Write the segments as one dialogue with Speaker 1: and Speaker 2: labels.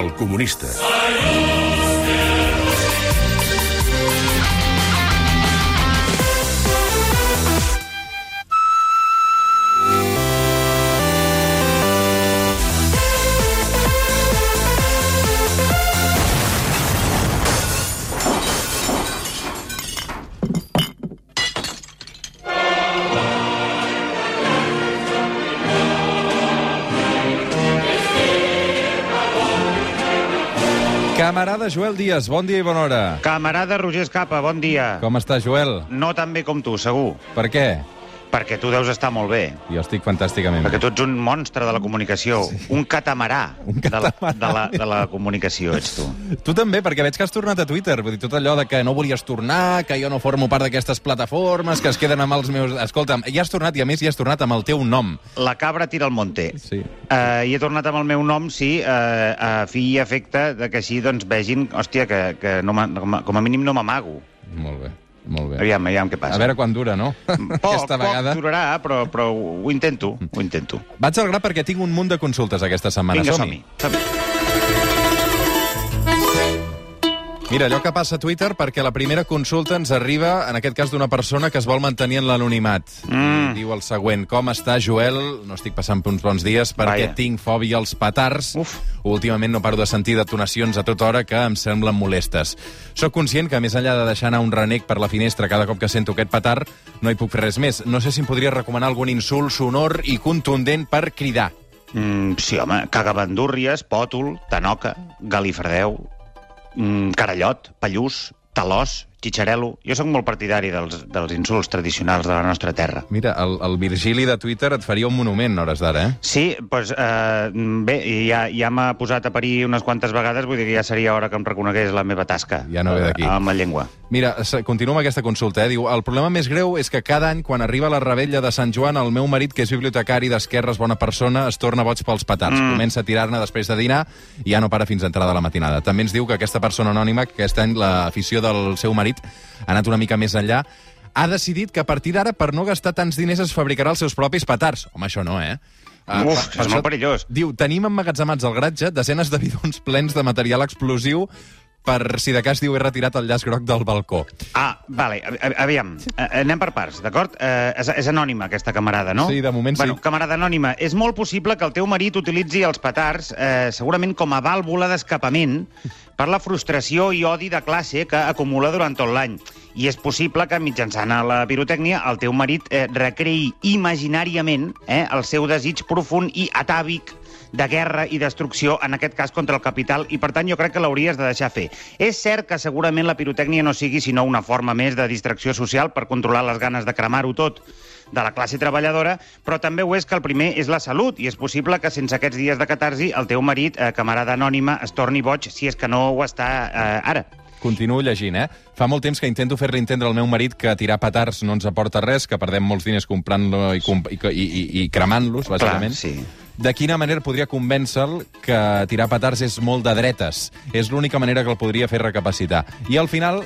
Speaker 1: El comunista.
Speaker 2: Camarada Joel Díaz, bon dia i bona hora.
Speaker 3: Camarada Roger Escapa, bon dia. Com?
Speaker 2: Com està, Joel?
Speaker 3: No tan bé com tu, segur,
Speaker 2: Per què?
Speaker 3: perquè tu deus estar molt bé.
Speaker 2: Jo estic fantàsticament
Speaker 3: Perquè
Speaker 2: bé.
Speaker 3: tu ets un monstre de la comunicació, sí. un catamarà,
Speaker 2: Un
Speaker 3: De, la,
Speaker 2: catamarà.
Speaker 3: de, la, de la comunicació ets tu.
Speaker 2: Tu també, perquè veig que has tornat a Twitter. Vull dir, tot allò de que no volies tornar, que jo no formo part d'aquestes plataformes, que es queden amb els meus... Escolta'm, ja has tornat, i a més ja has tornat amb el teu nom.
Speaker 3: La cabra tira al monte.
Speaker 2: Sí.
Speaker 3: Uh, I he tornat amb el meu nom, sí, uh, a fi i efecte de que així doncs vegin, hòstia, que, que no m'a- com, a, com a mínim no m'amago.
Speaker 2: Molt bé, molt bé.
Speaker 3: Aviam, aviam què passa.
Speaker 2: A veure quan dura, no?
Speaker 3: poc, poc durarà, però, però ho intento, ho intento.
Speaker 2: Vaig al gra perquè tinc un munt de consultes aquesta setmana.
Speaker 3: Vinga,
Speaker 2: Som-hi.
Speaker 3: som-hi. Som
Speaker 2: Mira, allò que passa a Twitter, perquè la primera consulta ens arriba, en aquest cas, d'una persona que es vol mantenir en l'anonimat. Mm. Diu el següent, com està Joel? No estic passant per uns bons dies perquè
Speaker 3: Vaja.
Speaker 2: tinc fòbia als petards.
Speaker 3: Uf.
Speaker 2: Últimament no paro de sentir detonacions a tota hora que em semblen molestes. Soc conscient que més enllà de deixar anar un renec per la finestra cada cop que sento aquest petard, no hi puc fer res més. No sé si em podria recomanar algun insult sonor i contundent per cridar.
Speaker 3: Mm, sí, home, cagabandúrries, pòtol, tanoca, galifardeu, mm, carallot, pallús, talós, xitxarelo... Jo sóc molt partidari dels, dels insults tradicionals de la nostra terra.
Speaker 2: Mira, el, el Virgili de Twitter et faria un monument a hores d'ara, eh?
Speaker 3: Sí, doncs, eh, bé, ja, ja m'ha posat a parir unes quantes vegades, vull dir que ja seria hora que em reconegués la meva tasca.
Speaker 2: Ja no ve d'aquí.
Speaker 3: eh, Amb la llengua.
Speaker 2: Mira, se- continuo amb aquesta consulta. Eh? Diu, el problema més greu és que cada any, quan arriba la rebella de Sant Joan, el meu marit, que és bibliotecari d'esquerres, bona persona, es torna boig pels petards. Mm. Comença a tirar-ne després de dinar i ja no para fins a entrada de la matinada. També ens diu que aquesta persona anònima, que aquest any l'afició del seu marit ha anat una mica més enllà, ha decidit que a partir d'ara, per no gastar tants diners, es fabricarà els seus propis petards. Home, això no, eh? Ah,
Speaker 3: Uf,
Speaker 2: per- per
Speaker 3: és molt perillós.
Speaker 2: Diu, tenim emmagatzemats al garatge desenes de bidons plens de material explosiu per si de cas diu he retirat el llaç groc del balcó.
Speaker 3: Ah, vale, a- a- aviam, eh, anem per parts, d'acord? Eh, és, és anònima, aquesta camarada, no?
Speaker 2: Sí, de moment sí.
Speaker 3: bueno, Camarada anònima, és molt possible que el teu marit utilitzi els petards eh, segurament com a vàlvula d'escapament per la frustració i odi de classe que acumula durant tot l'any. I és possible que mitjançant a la pirotècnia el teu marit eh, recreï imaginàriament eh, el seu desig profund i atàvic de guerra i destrucció, en aquest cas contra el capital, i per tant jo crec que l'hauries de deixar fer. És cert que segurament la pirotècnia no sigui sinó una forma més de distracció social per controlar les ganes de cremar-ho tot de la classe treballadora, però també ho és que el primer és la salut, i és possible que sense aquests dies de catarsi el teu marit, eh, camarada anònima, es torni boig si és que no ho està eh, ara.
Speaker 2: Continuo llegint, eh? Fa molt temps que intento fer-li entendre al meu marit que tirar petards no ens aporta res, que perdem molts diners comprant-lo i, comp i, i, i, i cremant-los, bàsicament.
Speaker 3: sí.
Speaker 2: De quina manera podria convèncer-lo que tirar petards és molt de dretes? És l'única manera que el podria fer recapacitar. I al final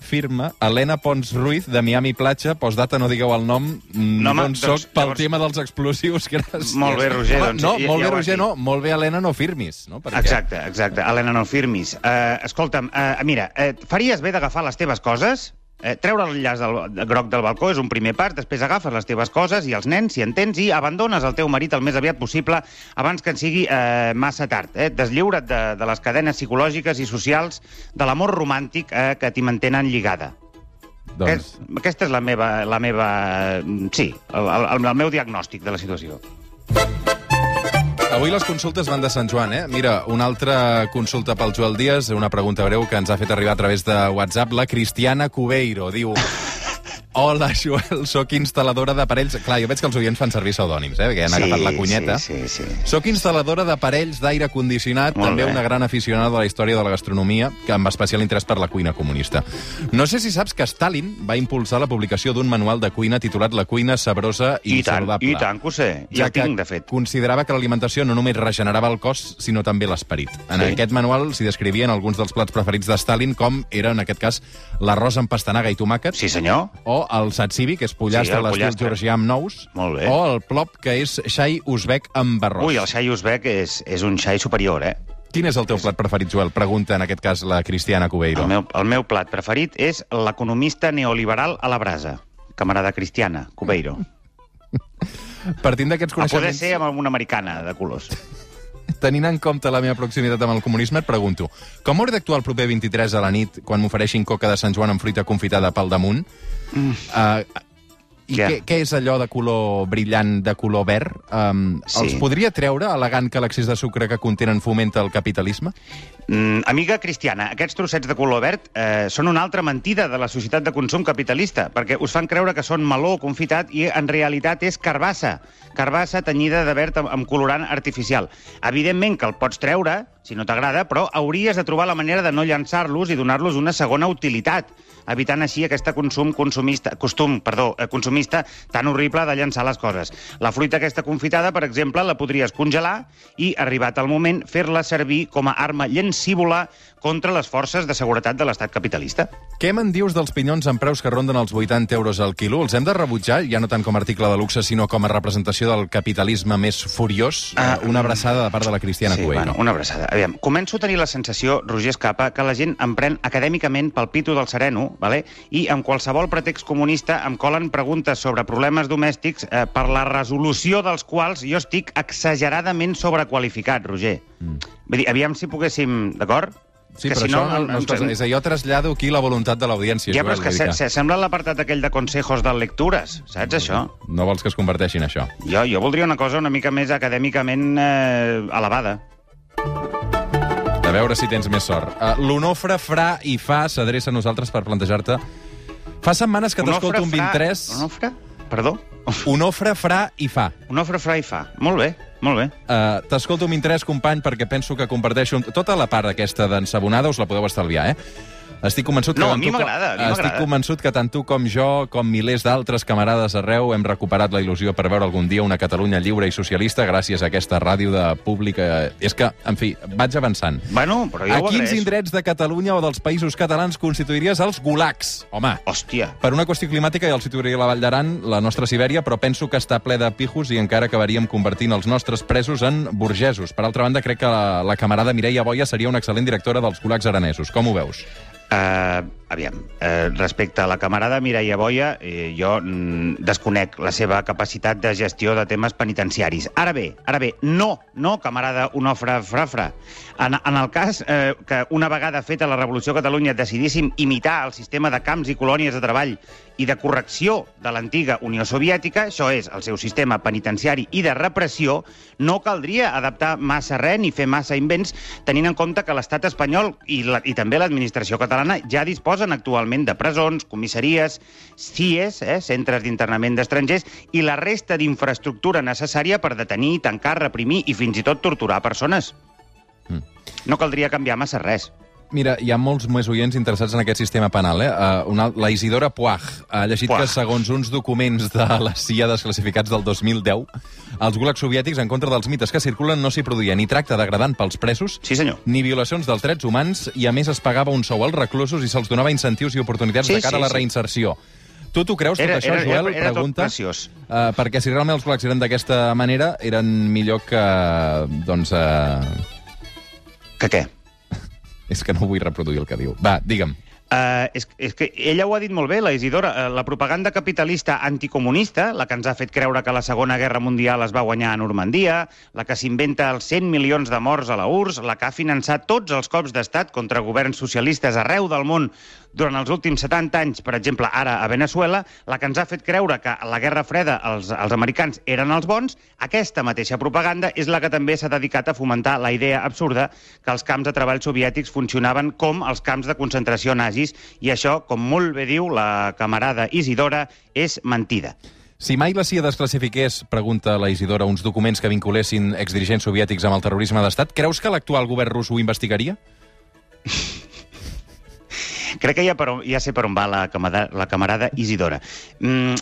Speaker 2: firma Helena Pons Ruiz, de Miami Platja, postdata no digueu el nom, no,
Speaker 3: home,
Speaker 2: on soc,
Speaker 3: doncs,
Speaker 2: pel
Speaker 3: llavors-
Speaker 2: tema dels explosius, gràcies.
Speaker 3: Molt bé, Roger,
Speaker 2: Home,
Speaker 3: doncs,
Speaker 2: no,
Speaker 3: ja-
Speaker 2: molt
Speaker 3: ja
Speaker 2: bé,
Speaker 3: ho has
Speaker 2: Roger,
Speaker 3: dit.
Speaker 2: no, molt bé, Helena, no firmis, no? Perquè...
Speaker 3: Exacte, exacte. Helena, no firmis. Uh, escolta'm, uh, mira, uh, faries bé d'agafar les teves coses? Eh, treure el llaç del, de groc del balcó és un primer pas, després agafes les teves coses i els nens, si en tens, i abandones el teu marit el més aviat possible abans que en sigui eh, massa tard. Eh? Deslliura't de, de les cadenes psicològiques i socials de l'amor romàntic eh, que t'hi mantenen lligada.
Speaker 2: Doncs...
Speaker 3: Aquest, aquesta és la meva... La meva mm, sí, el, el, el meu diagnòstic de la situació.
Speaker 2: Avui les consultes van de Sant Joan, eh? Mira, una altra consulta pel Joel Díaz, una pregunta breu que ens ha fet arribar a través de WhatsApp, la Cristiana Cubeiro, diu... Hola, Joel, sóc instal·ladora d'aparells... Clar, jo veig que els oients fan servir pseudònims, eh? Perquè han agafat la cunyeta.
Speaker 3: Sí, sí, sí.
Speaker 2: Sóc instal·ladora d'aparells d'aire condicionat,
Speaker 3: Molt
Speaker 2: també
Speaker 3: bé.
Speaker 2: una gran aficionada de la història de la gastronomia, que amb especial interès per la cuina comunista. No sé si saps que Stalin va impulsar la publicació d'un manual de cuina titulat La cuina sabrosa i,
Speaker 3: I, tant,
Speaker 2: saludable
Speaker 3: i tant que ho sé. Ja, ja
Speaker 2: que
Speaker 3: tinc, de fet.
Speaker 2: considerava que l'alimentació no només regenerava el cos, sinó també l'esperit. En
Speaker 3: Sí.
Speaker 2: aquest manual s'hi descrivien alguns dels plats preferits de Stalin, com era, en aquest cas, l'arròs amb pastanaga i tomàquet,
Speaker 3: Sí, senyor.
Speaker 2: o el satsivi, que és pollastre
Speaker 3: Sí,
Speaker 2: a
Speaker 3: el
Speaker 2: l'estil
Speaker 3: pollastre.
Speaker 2: georgià amb nous,
Speaker 3: Molt bé.
Speaker 2: o el plop, que és xai uzbek amb arròs.
Speaker 3: Ui, el xai uzbek és, és un xai superior, eh?
Speaker 2: Quin és el teu plat preferit, Joel? Pregunta, en aquest cas, la Cristiana Cubeiro.
Speaker 3: El meu, el meu plat preferit és l'economista neoliberal a la brasa. Camarada Cristiana, Cubeiro.
Speaker 2: Partint d'aquests
Speaker 3: A poder
Speaker 2: coneixements,
Speaker 3: ser amb una americana de colors.
Speaker 2: tenint en compte la meva proximitat amb el comunisme, et pregunto, com hauré d'actuar el proper 23 a la nit quan m'ofereixin coca de Sant Joan amb fruita confitada pel damunt? Mm. Uh, I
Speaker 3: Ja.
Speaker 2: què, què és allò de color brillant, de color verd? Um,
Speaker 3: Sí.
Speaker 2: Els podria treure, elegant que l'excés de sucre que contenen fomenta el capitalisme?
Speaker 3: Mm, amiga Cristiana, aquests trossets de color verd eh, són una altra mentida de la societat de consum capitalista, perquè us fan creure que són meló confitat i en realitat és carbassa, carbassa tenyida de verd amb- amb colorant artificial. Evidentment que el pots treure, si no t'agrada, però hauries de trobar la manera de no llançar-los i donar-los una segona utilitat, evitant així aquest consum consumista, costum, perdó, eh, consumista tan horrible de llançar les coses. La fruita aquesta confitada, per exemple, la podries congelar i, arribat el moment, fer-la servir com a arma llancívola contra les forces de seguretat de l'estat capitalista.
Speaker 2: Què me'n dius dels pinyons amb preus que ronden els 80 euros al quilo? Els hem de rebutjar, ja no tant com a article de luxe, sinó com a representació del capitalisme més furiós?
Speaker 3: Ah,
Speaker 2: Uh, una abraçada de part de la Cristiana
Speaker 3: sí,
Speaker 2: Cueiro.
Speaker 3: bueno, una abraçada. Aviam, començo a tenir la sensació, Roger Escapa, que la gent em pren acadèmicament pel pito del sereno, vale? i amb qualsevol pretext comunista em colen preguntes sobre problemes domèstics eh, per la resolució dels quals jo estic exageradament sobrequalificat, Roger. Mm. Vull dir, aviam si poguéssim, d'acord?
Speaker 2: Sí, però això no, no, no, és allò trasllado aquí la voluntat de l'audiència.
Speaker 3: Ja,
Speaker 2: Joel,
Speaker 3: però és que
Speaker 2: vull
Speaker 3: se,
Speaker 2: dir
Speaker 3: se sembla l'apartat aquell de consejos de lectures,
Speaker 2: Mm.
Speaker 3: saps, això?
Speaker 2: No vols que es converteixi en això.
Speaker 3: Jo, jo voldria una cosa una mica més acadèmicament eh, elevada.
Speaker 2: A veure si tens més sort. Uh, L'Onofre Fra i Fa s'adreça a nosaltres per plantejar-te... Fa setmanes que t'escolto un
Speaker 3: Onofre Fra-
Speaker 2: 23...
Speaker 3: Onofre? Perdó?
Speaker 2: Onofre Fra i Fa.
Speaker 3: Un ofre fra i fa. Molt bé, molt bé.
Speaker 2: Uh, T'escolto amb interès, company, perquè penso que comparteixo... amb- Tota la part aquesta d'ensabonada us la podeu estalviar, eh? Estic convençut que
Speaker 3: No, a
Speaker 2: tant
Speaker 3: mi
Speaker 2: tu com-
Speaker 3: m'agrada, a mi
Speaker 2: Estic
Speaker 3: m'agrada.
Speaker 2: convençut que tant tu com jo, com milers d'altres camarades arreu, hem recuperat la il·lusió per veure algun dia una Catalunya lliure i socialista gràcies a aquesta ràdio de pública... És que, en fi, vaig avançant.
Speaker 3: Bueno, però jo
Speaker 2: a
Speaker 3: ho
Speaker 2: quins
Speaker 3: agraeixo.
Speaker 2: indrets de Catalunya o dels països catalans constituiries els gulags? Home,
Speaker 3: Hòstia.
Speaker 2: per una qüestió climàtica ja els situaria la Vall d'Aran, la nostra Sibèria, però penso que està ple de pijos i encara acabaríem convertint els nostres presos en burgesos. Per altra banda, crec que la, la camarada Mireia Boia seria una excel·lent directora dels gulags aranesos. Com ho veus?
Speaker 3: Uh, aviam, uh, respecte a la camarada Mireia Boia, eh, jo mm, desconec la seva capacitat de gestió de temes penitenciaris. Ara bé, ara bé, no, no, camarada Onofra Frafra. En, en el cas eh, que una vegada feta la Revolució a Catalunya decidíssim imitar el sistema de camps i colònies de treball i de correcció de l'antiga Unió Soviètica, això és, el seu sistema penitenciari i de repressió, no caldria adaptar massa res ni fer massa invents, tenint en compte que l'estat espanyol i, la, i també l'administració catalana ja disposen actualment de presons, comissaries, CIES, eh, centres d'internament d'estrangers, i la resta d'infraestructura necessària per detenir, tancar, reprimir i fins i tot torturar persones.
Speaker 2: Mm.
Speaker 3: No caldria canviar massa res.
Speaker 2: Mira, hi ha molts més oients interessats en aquest sistema penal. Eh? Uh, una, la Isidora Puig ha llegit
Speaker 3: Puig.
Speaker 2: que, segons uns documents de la CIA desclassificats del 2010, els gulags soviètics, en contra dels mites que circulen, no s'hi produïa ni tracte degradant pels presos,
Speaker 3: Sí, senyor.
Speaker 2: ni violacions dels drets humans, i a més es pagava un sou als reclusos i se'ls donava incentius i oportunitats
Speaker 3: Sí,
Speaker 2: de cara
Speaker 3: sí,
Speaker 2: a la
Speaker 3: sí.
Speaker 2: reinserció. Tu t'ho creus, tot això, Joel?
Speaker 3: era tot
Speaker 2: pregunta.
Speaker 3: preciós.
Speaker 2: Uh, perquè si realment els gulags eren d'aquesta manera, eren millor que... Doncs... Uh...
Speaker 3: Que què?
Speaker 2: És que no vull reproduir el que diu. Va, digue'm.
Speaker 3: Uh, és, és que ella ho ha dit molt bé, la Isidora. Uh, la propaganda capitalista anticomunista, la que ens ha fet creure que la Segona Guerra Mundial es va guanyar a Normandia, la que s'inventa els 100 milions de morts a la URSS, la que ha finançat tots els cops d'estat contra governs socialistes arreu del món durant els últims 70 anys, per exemple, ara a Venezuela, la que ens ha fet creure que a la Guerra Freda els, els americans eren els bons, aquesta mateixa propaganda és la que també s'ha dedicat a fomentar la idea absurda que els camps de treball soviètics funcionaven com els camps de concentració nazis i això, com molt bé diu la camarada Isidora, és mentida.
Speaker 2: Si mai la CIA desclassifiqués, pregunta la Isidora, uns documents que vinculessin exdirigents soviètics amb el terrorisme d'estat, creus que l'actual govern rus ho investigaria?
Speaker 3: Crec que ja, per on, ja sé per on va la camarada, la camarada Isidora. Mm,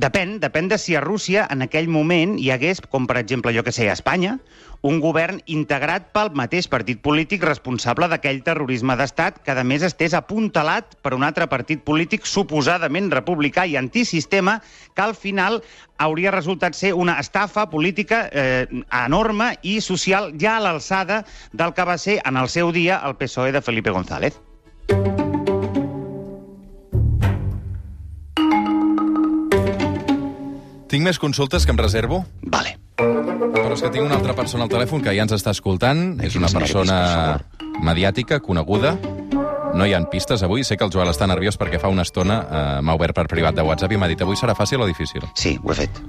Speaker 3: Depèn, depèn de si a Rússia en aquell moment hi hagués, com per exemple, jo que sé, a Espanya, un govern integrat pel mateix partit polític responsable d'aquell terrorisme d'estat que, a més, estés apuntalat per un altre partit polític suposadament republicà i antisistema que, al final, hauria resultat ser una estafa política eh, enorme i social ja a l'alçada del que va ser, en el seu dia, el PSOE E de Felipe González.
Speaker 2: Tinc més consultes que em reservo,
Speaker 3: Vale.
Speaker 2: però és que tinc una altra persona al telèfon que ja ens està escoltant. És una
Speaker 3: no escriguis,
Speaker 2: persona mediàtica, coneguda. No hi han pistes avui. Sé que el Joel està nerviós perquè fa una estona eh, m'ha obert per privat de WhatsApp i m'ha dit avui serà fàcil o difícil.
Speaker 3: Sí, ho he fet.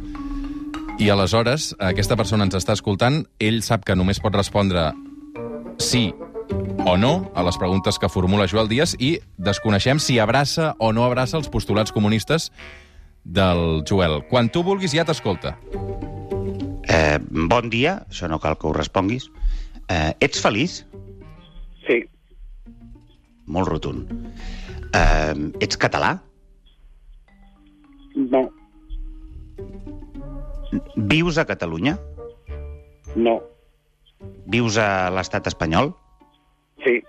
Speaker 2: I aleshores, aquesta persona ens està escoltant, ell sap que només pot respondre sí o no a les preguntes que formula Joel Díaz i desconeixem si abraça o no abraça els postulats comunistes del Joel. Quan tu vulguis ja t'escolta.
Speaker 3: Eh, bon dia, això no cal que ho responguis. Eh, ets feliç?
Speaker 1: Sí,
Speaker 3: Molt rotund. Eh, ets català?
Speaker 1: no,
Speaker 3: Vius a Catalunya?
Speaker 1: no,
Speaker 3: Vius a l'estat espanyol?
Speaker 1: sí,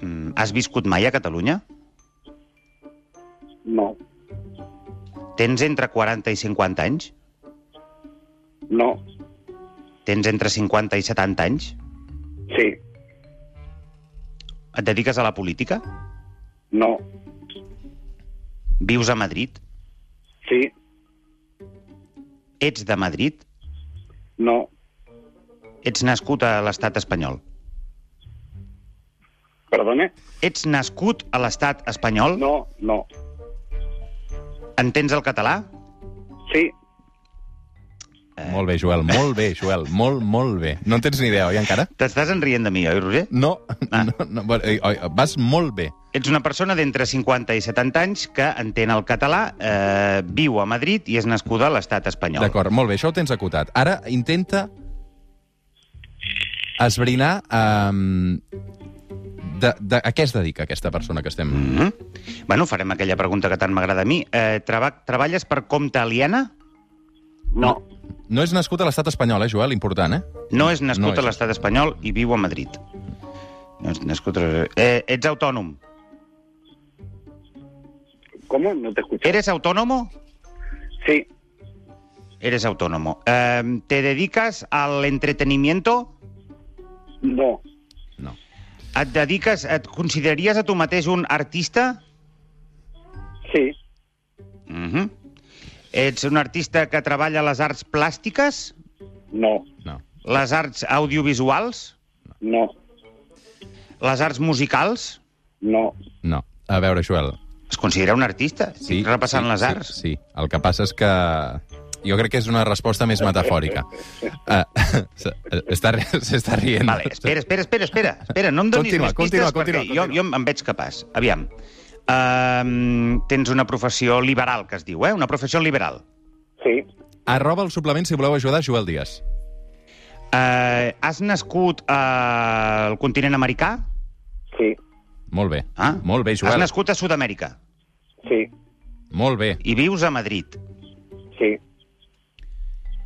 Speaker 3: Mm, has viscut mai a Catalunya?
Speaker 1: no,
Speaker 3: Tens entre 40 i 50 anys?
Speaker 1: no,
Speaker 3: Tens entre 50 i 70 anys?
Speaker 1: sí,
Speaker 3: Et dediques a la política?
Speaker 1: no,
Speaker 3: Vius a Madrid?
Speaker 1: sí,
Speaker 3: Ets de Madrid?
Speaker 1: no,
Speaker 3: Ets nascut a l'estat espanyol?
Speaker 1: perdona,
Speaker 3: Ets nascut a l'estat espanyol?
Speaker 1: no, no,
Speaker 3: Entens el català?
Speaker 1: sí,
Speaker 2: Eh. Molt bé, Joel, molt bé, Joel, molt, molt bé. No en tens ni idea, oi, encara?
Speaker 3: T'estàs enrient de mi, oi, Roger?
Speaker 2: No, ah.
Speaker 3: Ah.
Speaker 2: no, no bueno, oi, oi, vas molt bé.
Speaker 3: Ets una persona d'entre 50 i 70 anys que entén el català, eh, viu a Madrid i és nascuda a l'estat espanyol.
Speaker 2: D'acord, molt bé, això ho tens acotat. Ara intenta esbrinar um, de, de, a què es dedica aquesta persona que estem...
Speaker 3: Mm -hmm. Bueno, farem aquella pregunta que tant m'agrada a mi. Eh, treba treballes per compte aliena?
Speaker 1: no,
Speaker 2: No és nascut a l'estat espanyol, eh, Joel? Important, eh?
Speaker 3: No és
Speaker 2: No
Speaker 3: nascut
Speaker 2: és.
Speaker 3: no a l'estat espanyol i viu a Madrid. No és nascut a... Eh, ets autònom.
Speaker 1: ¿cómo? No te escuché.
Speaker 3: ¿Eres autónomo?
Speaker 1: Sí,
Speaker 3: Eres autónomo. Eh, ¿Te dedicas al entretenimiento?
Speaker 1: no,
Speaker 2: No.
Speaker 3: Et dediques... Et consideraries a tu mateix un artista?
Speaker 1: sí,
Speaker 3: Mm -hmm. Ets un artista que treballa les arts plàstiques?
Speaker 1: no,
Speaker 2: No.
Speaker 3: Les arts audiovisuals?
Speaker 1: no,
Speaker 3: Les arts musicals?
Speaker 1: no,
Speaker 2: No. A veure, Joel...
Speaker 3: Es considera un artista? Estic repassant
Speaker 2: sí,
Speaker 3: les arts?
Speaker 2: Sí, sí, el que passa és que... Jo crec que és una resposta més metafòrica. Uh, S'està s'està rient.
Speaker 3: Vale, espera, espera, espera, espera, espera, no em donis
Speaker 2: Continua,
Speaker 3: més
Speaker 2: continua,
Speaker 3: pistes
Speaker 2: continua,
Speaker 3: perquè
Speaker 2: continua.
Speaker 3: Jo, jo em veig capaç. Aviam, um, tens una professió liberal, que es diu, eh? Una professió liberal.
Speaker 1: sí,
Speaker 2: Arroba el suplement si voleu ajudar Joel Díaz.
Speaker 3: Uh, has nascut eh, al continent americà?
Speaker 1: sí,
Speaker 2: Molt bé.
Speaker 3: Ah?
Speaker 2: Molt bé, Joel.
Speaker 3: Has nascut a Sud-amèrica
Speaker 1: sí,
Speaker 2: Molt bé.
Speaker 3: i vius a Madrid.
Speaker 1: sí,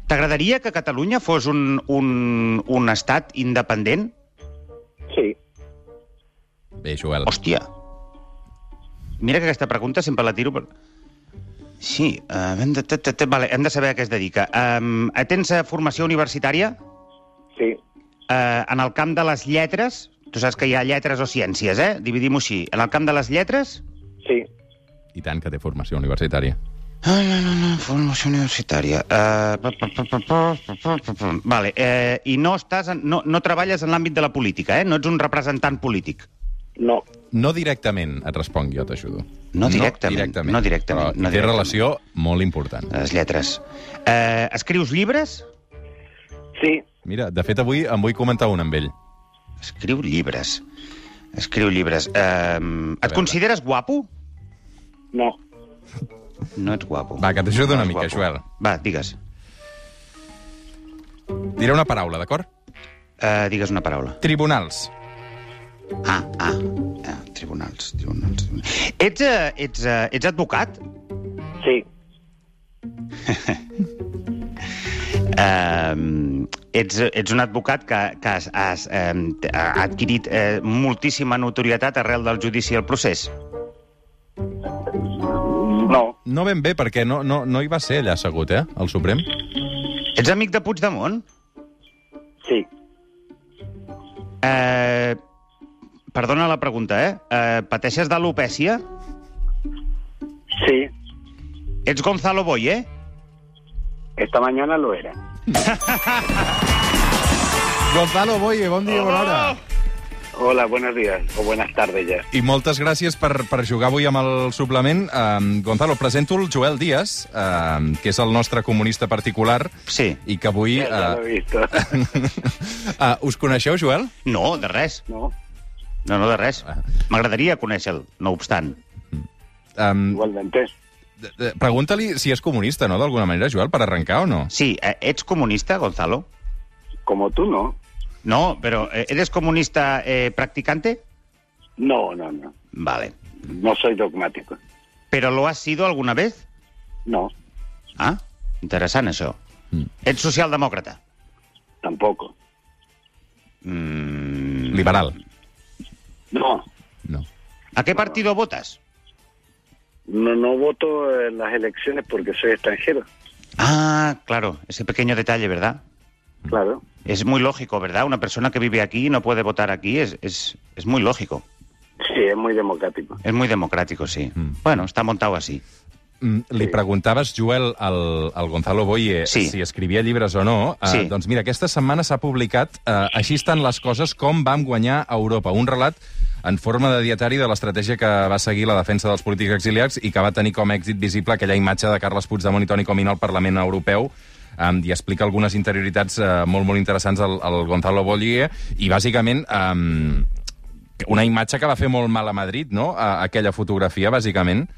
Speaker 3: T'agradaria que Catalunya fos un, un, un estat independent?
Speaker 1: sí,
Speaker 2: Bé, Joel.
Speaker 3: Hòstia. Mira que aquesta pregunta sempre la tiro... Per... Sí, uh, hem, de, t, t, t, vale, hem de saber a què es dedica. Um, tens eh, formació universitària
Speaker 1: sí,
Speaker 3: uh, en el camp de les lletres? Tu saps que hi ha lletres o ciències, eh? Dividim-ho així. En el camp de les lletres?
Speaker 1: sí,
Speaker 2: I tant que té formació universitària.
Speaker 3: Ah, no, no, no, formació universitària. Uh, pa, pa, pa, pa, pa, pa, pa, pa. Vale, eh, i no, estàs en, no, no treballes en l'àmbit de la política, eh? No ets un representant polític.
Speaker 1: no,
Speaker 2: No directament, et responc jo, t'ajudo.
Speaker 3: No directament, no directament,
Speaker 2: Però
Speaker 3: no
Speaker 2: té
Speaker 3: directament.
Speaker 2: relació molt important.
Speaker 3: Les lletres. Eh, escrius llibres?
Speaker 1: sí,
Speaker 2: Mira, de fet, avui em vull comentar un amb ell.
Speaker 3: Escriu llibres. Escriu llibres. Um, et
Speaker 2: veure.
Speaker 3: consideres guapo?
Speaker 1: no,
Speaker 3: No ets guapo.
Speaker 2: Va, que t'ajudo una
Speaker 3: ets
Speaker 2: mica,
Speaker 3: guapo.
Speaker 2: Joel.
Speaker 3: Va, digues.
Speaker 2: Diré una paraula, d'acord?
Speaker 3: Uh, digues una paraula.
Speaker 2: Tribunals.
Speaker 3: Ah, ah. eh, ah tribunals, tribunals. tribunals. Ets, uh, ets, uh, ets advocat?
Speaker 1: sí,
Speaker 3: Eh, ets, ets un advocat que, que has, has eh, ha adquirit eh, moltíssima notorietat arrel del judici i el procés.
Speaker 1: no,
Speaker 2: No ben bé, perquè no, no, no hi va ser allà assegut, eh, el Suprem.
Speaker 3: Ets amic de Puigdemont?
Speaker 1: sí,
Speaker 3: Eh, perdona la pregunta, eh? eh pateixes d'alopècia?
Speaker 1: sí.
Speaker 3: Ets Gonzalo Boye?
Speaker 1: Esta mañana lo era.
Speaker 2: Gonzalo Boye, bon dia, bona hora.
Speaker 1: Hola, buenos días o buenas tardes ya.
Speaker 2: Oh! I moltes gràcies per, per jugar avui amb el suplement. Um, Gonzalo, presento el Joel Díaz, um, que és el nostre comunista particular,
Speaker 3: Sí. ah.
Speaker 2: i que avui...
Speaker 1: Ya, ya lo
Speaker 2: Uh,
Speaker 1: he visto.
Speaker 2: uh, us coneixeu, Joel?
Speaker 3: No, de res.
Speaker 1: No,
Speaker 3: No, no, de res.
Speaker 2: Ah.
Speaker 3: M'agradaria conèixer-lo, no obstant.
Speaker 2: Um,
Speaker 1: igualmente.
Speaker 2: Pregunta-li si és comunista, no?, d'alguna manera, Joel, per arrencar o no?
Speaker 3: Sí, eh, ets comunista, Gonzalo?
Speaker 1: Como tú, ¿no?
Speaker 3: No, però eh, eres comunista eh, practicante?
Speaker 1: No, no, no.
Speaker 3: Vale.
Speaker 1: No soy dogmático.
Speaker 3: ¿Pero lo has sido alguna vez?
Speaker 1: No,
Speaker 3: Ah, interessant, això.
Speaker 2: Mm.
Speaker 3: Ets socialdemòcrata?
Speaker 1: tampoco.
Speaker 3: Mm.
Speaker 2: Liberal.
Speaker 1: No,
Speaker 2: No.
Speaker 3: ¿A qué partido votas?
Speaker 1: no, no voto en las elecciones porque soy extranjero.
Speaker 3: Ah, claro, ese pequeño detalle, ¿verdad?
Speaker 1: Claro.
Speaker 3: Es muy lógico, ¿verdad? Una persona que vive aquí y no puede votar aquí es, es, es muy lógico.
Speaker 1: Sí, es muy democrático.
Speaker 3: Es muy democrático, sí.
Speaker 2: Mm.
Speaker 3: Bueno, está montado así.
Speaker 2: Mm, Li preguntaves, Joel, al, al Gonzalo Boye
Speaker 3: Sí.
Speaker 2: si escrivia llibres o no. Eh,
Speaker 3: Sí.
Speaker 2: Doncs mira, aquesta setmana s'ha publicat eh, Així estan les coses, com vam guanyar a Europa. Un relat en forma de dietari de l'estratègia que va seguir la defensa dels polítics exiliats i que va tenir com a èxit visible aquella imatge de Carles Puigdemont i Toni Comín al Parlament Europeu um, i explica algunes interioritats eh, molt, molt interessants al, al Gonzalo Boye i, bàsicament, um, una imatge que va fer molt mal a Madrid, no?, a, aquella fotografia, bàsicament.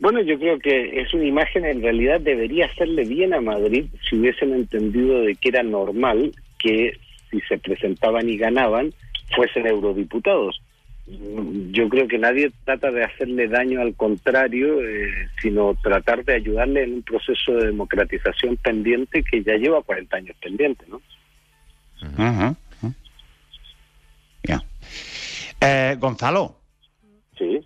Speaker 1: Bueno, yo creo que es una imagen en realidad debería hacerle bien a Madrid si hubiesen entendido de que era normal que si se presentaban y ganaban fuesen eurodiputados. Mm, Yo creo que nadie trata de hacerle daño al contrario, eh, sino tratar de ayudarle en un proceso de democratización pendiente que ya lleva 40 años pendiente, ¿no?
Speaker 3: Ujú. Ya. Eh, Gonzalo,
Speaker 1: Sí,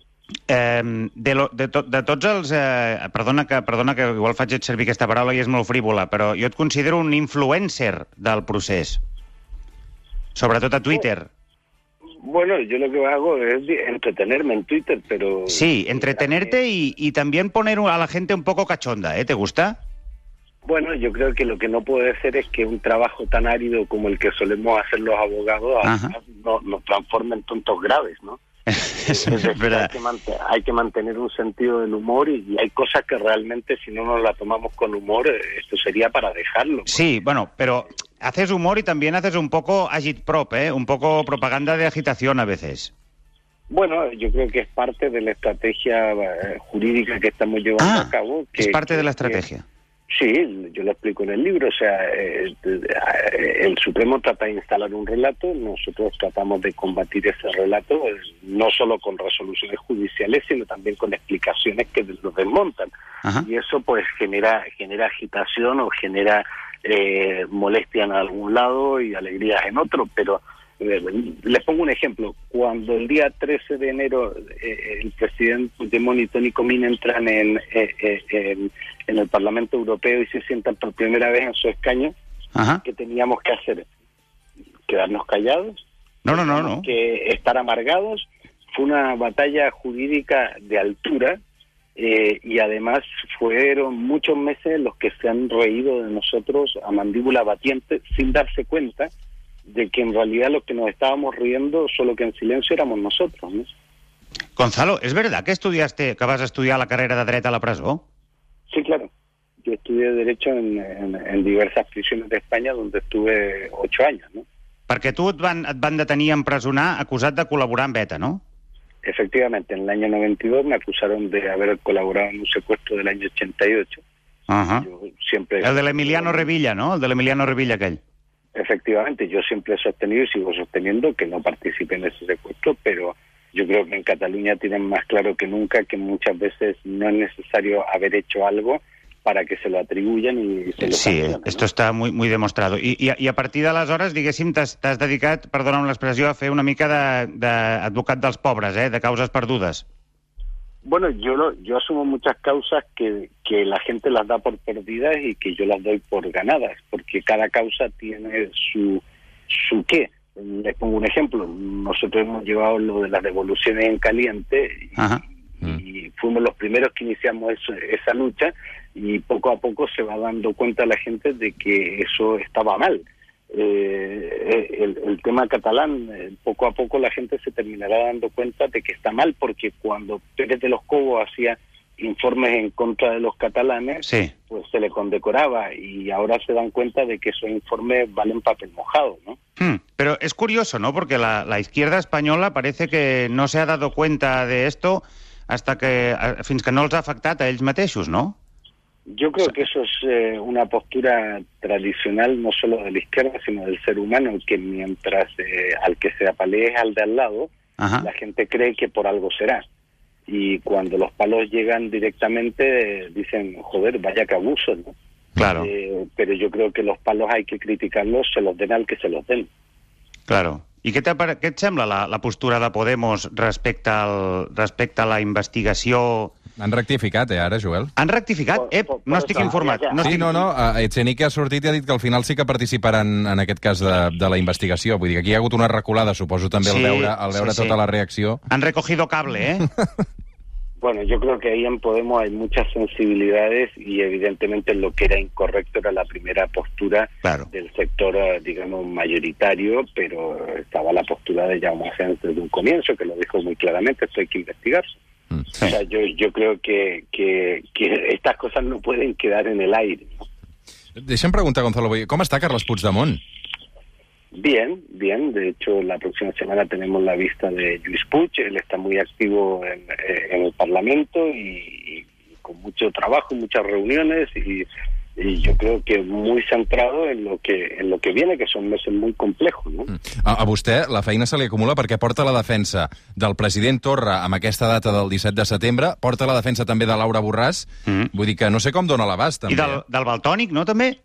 Speaker 3: Eh, de, lo, de, to, de tots els... Eh, perdona, que, perdona que igual faig servir aquesta paraula i és molt frívola, però jo et considero un influencer del procés. Sobretot a Twitter.
Speaker 1: Bueno, yo lo que hago es de- entretenerme en Twitter, pero...
Speaker 3: Sí, entretenerte y, y también poner a la gente un poco cachonda, ¿eh? ¿Te gusta?
Speaker 1: Bueno, yo creo que lo que no puede ser es que un trabajo tan árido como el que solemos hacer los abogados
Speaker 3: Ajá.
Speaker 1: a- no- nos transforme en tontos graves, ¿no?
Speaker 3: Es
Speaker 1: Es decir, hay,
Speaker 3: verdad.
Speaker 1: que mante- hay que mantener un sentido del humor y, y hay cosas que realmente si no nos la tomamos con humor, eh, esto sería para dejarlo.
Speaker 3: Sí, bueno, pero haces humor y también haces un poco agitprop, ¿eh? Un poco propaganda de agitación a veces.
Speaker 1: Bueno, yo creo que es parte de la estrategia eh, jurídica que estamos llevando
Speaker 3: Ah,
Speaker 1: a cabo. Que,
Speaker 3: Es parte de la
Speaker 1: que- que-
Speaker 3: estrategia.
Speaker 1: Sí, yo lo explico en el libro. O sea, eh, eh, el Supremo trata de instalar un relato, nosotros tratamos de combatir ese relato, eh, no solo con resoluciones judiciales, sino también con explicaciones que lo desmontan.
Speaker 3: Ajá.
Speaker 1: Y eso, pues, genera, genera agitación o genera eh, molestia en algún lado y alegrías en otro. Pero eh, les pongo un ejemplo. Cuando el día 13 de enero eh, el presidente Puigdemont y Tony Comín entran en, eh, eh, en- en el Parlamento Europeo y se sientan por primera vez en su escaño,
Speaker 3: Ajá.
Speaker 1: ¿qué teníamos que hacer? ¿Quedarnos callados?
Speaker 3: No, no, no, no.
Speaker 1: que estar amargados. Fue una batalla jurídica de altura eh, y además fueron muchos meses los que se han reído de nosotros a mandíbula batiente sin darse cuenta de que en realidad los que nos estábamos riendo, solo que en silencio éramos nosotros. ¿no?
Speaker 3: Gonzalo, ¿es verdad que estudiaste, que vas a estudiar la carrera de dret a la presó?
Speaker 1: Sí, claro. Yo estudié Derecho en, en- en diversas prisiones de España donde estuve ocho años, ¿no?
Speaker 3: Perquè tu et van, et van detenir i empresonar acusat de col·laborar amb ETA, no?
Speaker 1: Efectivamente, en el año 92 me acusaron de haber colaborado en un secuestro del año 88.
Speaker 3: Uh
Speaker 1: Yo siempre...
Speaker 3: El de l'Emiliano Revilla, no? El de l'Emiliano Revilla aquell.
Speaker 1: Efectivamente, yo siempre he sostenido y sigo sosteniendo que no participé en ese secuestro, pero Yo creo que en Cataluña tienen más claro que nunca que muchas veces no es necesario haber hecho algo para que se lo atribuyan y se
Speaker 3: Sí,
Speaker 1: lo sancionen, ¿no?
Speaker 3: esto está muy, muy demostrado. I, i, a- I a partir d'aleshores, diguéssim, t'has t'has dedicat, perdona'm l'expressió, a fer una mica d'advocat de, advocat dels pobres, eh, de causes perdudes.
Speaker 1: Bueno, yo lo- yo asumo muchas causas que, que la gente las da por perdidas y que yo las doy por ganadas, porque cada causa tiene su, su qué. Les pongo un ejemplo. Nosotros hemos llevado lo de las devoluciones en caliente y,
Speaker 3: Ajá.
Speaker 1: y fuimos los primeros que iniciamos eso- esa lucha y poco a poco se va dando cuenta la gente de que eso estaba mal. Eh, el, el tema catalán, eh, poco a poco la gente se terminará dando cuenta de que está mal, porque cuando Pérez de los Cobos hacía informes en contra de los catalanes,
Speaker 3: Sí.
Speaker 1: pues se le condecoraba y ahora se dan cuenta de que esos informes valen papel mojado, ¿no?
Speaker 3: Hmm, Pero es curioso, ¿no? Porque la, la izquierda española parece que no se ha dado cuenta de esto hasta que, a- fins que no els ha afectat a ells mateixos, no?
Speaker 1: Yo creo que eso es eh, una postura tradicional no solo de la izquierda, sino del ser humano, que mientras eh, al que se apalee es al de al lado,
Speaker 3: Ajá.
Speaker 1: la gente cree que por algo será. Y cuando los palos llegan directamente, eh, dicen, joder, vaya que abuso, ¿no?
Speaker 3: Claro,
Speaker 1: Eh, pero yo creo que los palos hay que criticarlos, se los den al que se los den.
Speaker 3: claro. I què, t'ha pare- què et sembla la, la postura de Podemos respecte, al, respecte a la investigació?
Speaker 2: Han rectificat, eh, ara, Joel?
Speaker 3: Han rectificat?
Speaker 1: Por-
Speaker 3: Ep,
Speaker 1: por-
Speaker 3: no
Speaker 1: por
Speaker 3: estic
Speaker 1: eso,
Speaker 3: informat.
Speaker 1: ja, ja.
Speaker 3: No
Speaker 2: Sí,
Speaker 3: estic...
Speaker 2: no, no, eh, Echenique ha sortit i ha dit que al final sí que participaran en aquest cas de, de la investigació. Vull dir que aquí hi ha hagut una reculada, suposo, també,
Speaker 3: Sí,
Speaker 2: al veure, al veure
Speaker 3: sí, sí.
Speaker 2: tota la reacció.
Speaker 3: Han recogido cable, eh?
Speaker 1: Bueno, yo creo que ahí en Podemos hay muchas sensibilidades y evidentemente lo que era incorrecto era la primera postura
Speaker 3: Claro.
Speaker 1: del sector, eh, digamos, mayoritario, pero estaba la postura de Jaume Asens desde un comienzo, que lo dijo muy claramente, esto hay que investigarse.
Speaker 2: Mm.
Speaker 1: O sea, yo, yo creo que, que, que estas cosas no pueden quedar en el aire. ¿no?
Speaker 2: Deixa'm preguntar, Gonzalo, Boye, com està Carles Puigdemont?
Speaker 1: Bien, bien. De hecho, la próxima semana tenemos la vista de Luis Puig. Él está muy activo en, eh, en el Parlamento y, y con mucho trabajo, muchas reuniones y, y yo creo que muy centrado en lo que en lo que viene, que son meses muy complejos, ¿no?
Speaker 2: A, a vostè la feina se li acumula perquè porta la defensa del president Torra amb aquesta data del 17 de setembre, porta la defensa també de Laura Borràs,
Speaker 3: Mhm.
Speaker 2: vull dir que no sé com dona l'abast, també. eh?
Speaker 3: I del, del Baltònic, no, també?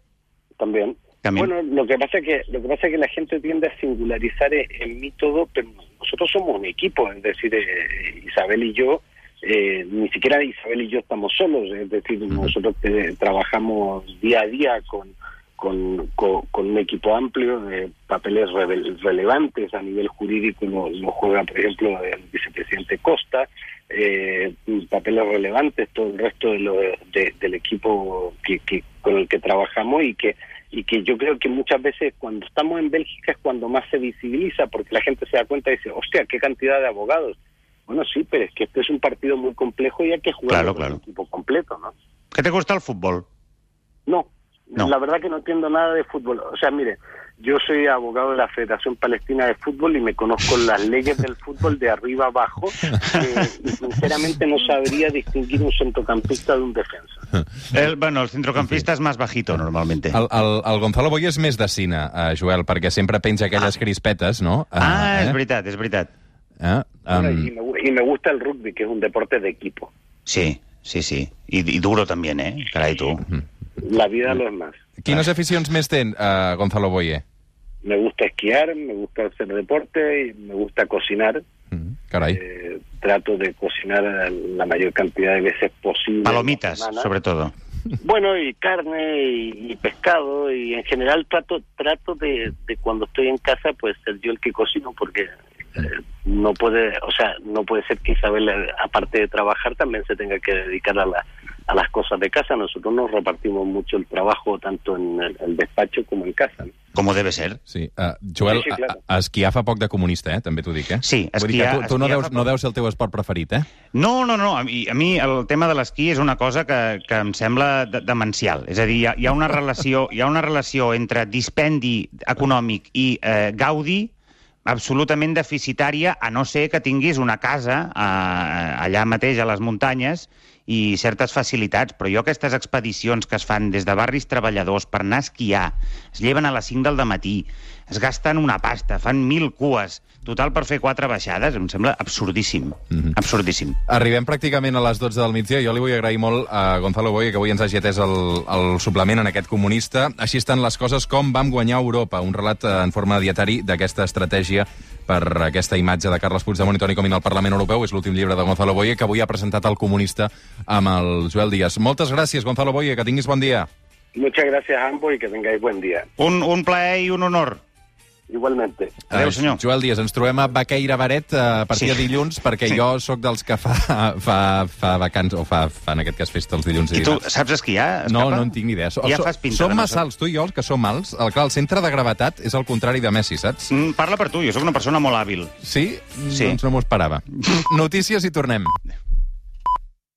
Speaker 1: También.
Speaker 3: También.
Speaker 1: Bueno, lo que pasa es que lo que pasa es que la gente tiende a singularizar e- en mí todo, pero nosotros somos un equipo, es decir, eh, Isabel y yo, eh, ni siquiera Isabel y yo estamos solos, es decir, nosotros te- trabajamos día a día con con, con- con un equipo amplio de papeles revel- relevantes a nivel jurídico, nos, nos juega, por ejemplo, el vicepresidente Costa, eh, papeles relevantes todo el resto de lo- de- del equipo que, que- con el que trabajamos y que y que yo creo que muchas veces cuando estamos en Bélgica es cuando más se visibiliza porque la gente se da cuenta y dice, hostia, qué cantidad de abogados. Bueno, sí, pero es que este es un partido muy complejo y hay que jugar
Speaker 3: Claro,
Speaker 1: con
Speaker 3: claro.
Speaker 1: el equipo completo, ¿no?
Speaker 3: Què te gusta el futbol?
Speaker 1: No,
Speaker 3: No.
Speaker 1: la verdad que no entiendo nada de fútbol. O sea, mire, yo soy abogado de la Federación Palestina de Fútbol y me conozco las leyes del fútbol de arriba abajo eh, y sinceramente no sabría distinguir un centrocampista de un defensa.
Speaker 3: El, bueno, el centrocampista és més bajito, normalmente.
Speaker 2: El, el, el Gonzalo Boye és més de cine, eh, Joel, perquè sempre penja aquelles crispetes, no? Eh,
Speaker 3: Ah, és
Speaker 2: eh?
Speaker 3: veritat, és veritat.
Speaker 2: Eh?
Speaker 3: Ah.
Speaker 1: Bueno,
Speaker 2: Um,
Speaker 1: y, me, gu- y me gusta el rugby, que es un deporte de equipo.
Speaker 3: Sí, sí, sí. I, i duro també, eh? Carai, tu.
Speaker 2: Mm.
Speaker 1: La vida lo es más.
Speaker 2: quines aficions més ten, eh, Gonzalo Boye?
Speaker 1: Me gusta esquiar, me gusta hacer deporte y me gusta cocinar.
Speaker 3: Mm-hmm.
Speaker 2: Mm, carai.
Speaker 1: Eh, trato de cocinar la mayor cantidad de veces posible.
Speaker 3: Palomitas,
Speaker 1: en la semana.
Speaker 3: sobretot.
Speaker 1: Bueno, y carne y, y pescado y en general trato trato de, de cuando estoy en casa pues ser yo el que cocino porque eh, no puede, o sea, no puede ser que Isabel eh, aparte de trabajar también se tenga que dedicar a la- a las cosas de casa. Nosotros nos repartimos mucho el trabajo tanto en el, el despacho como en casa. ¿no?
Speaker 3: Com ho debe ser.
Speaker 2: Sí, uh, Joel,
Speaker 1: Sí, sí,
Speaker 2: a-
Speaker 1: claro.
Speaker 2: a, esquiar fa poc de comunista, eh? també t'ho dic. Eh?
Speaker 3: Sí,
Speaker 2: Vull dir que
Speaker 3: esquiar-
Speaker 2: tu, tu no,
Speaker 3: esquiar
Speaker 2: deus,
Speaker 3: fa
Speaker 2: no
Speaker 3: poc.
Speaker 2: deu ser el teu esport preferit, eh?
Speaker 3: No, no, no. A mi, a mi el tema de l'esquí és una cosa que, que em sembla de, demencial. És a dir, hi ha, hi, ha una relació, hi ha una relació entre dispendi econòmic i eh, gaudi absolutament deficitària, a no ser que tinguis una casa eh, allà mateix, a les muntanyes, i certes facilitats, però jo aquestes expedicions que es fan des de barris treballadors per anar a esquiar, es lleven a les 5 del matí, es gasten una pasta, fan mil cues, total per fer quatre baixades, em sembla absurdíssim, absurdíssim.
Speaker 2: Arribem pràcticament a les 12 del migdia. Jo li vull agrair molt a Gonzalo Boye que avui ens hagi atès el, el suplement en aquest comunista. Així estan les coses com vam guanyar Europa, un relat eh, en forma de dietari d'aquesta estratègia per aquesta imatge de Carles Puigdemont i Toni Comín al Parlament Europeu. És l'últim llibre de Gonzalo Boye que avui ha presentat el comunista amb el Joel Díaz. Moltes gràcies, Gonzalo Boye, que tinguis bon dia.
Speaker 1: Muchas gracias a ambos y que tengáis buen día.
Speaker 3: Un, un plaer i un honor.
Speaker 1: Igualmente.
Speaker 3: Adéu, senyor.
Speaker 2: Eh, Joel Díaz, ens trobem a Baqueira Baret eh, a partir
Speaker 3: Sí.
Speaker 2: de dilluns, perquè sí. jo sóc dels que fa, fa, fa vacants, o fa, fa, en aquest cas, festa els dilluns i
Speaker 3: I tu
Speaker 2: dimarts.
Speaker 3: saps esquiar?
Speaker 2: No,
Speaker 3: Escapa?
Speaker 2: no en tinc ni idea. So-
Speaker 3: Ja
Speaker 2: so-
Speaker 3: fas pinta.
Speaker 2: Som
Speaker 3: de no
Speaker 2: massa alts, tu i jo, els que som alts. El, clar, el centre de gravetat és el contrari de Messi, saps?
Speaker 3: Mm, Parla per tu, jo sóc una persona molt hàbil.
Speaker 2: Sí?
Speaker 3: Sí.
Speaker 2: Doncs no m'ho esperava. Notícies i tornem.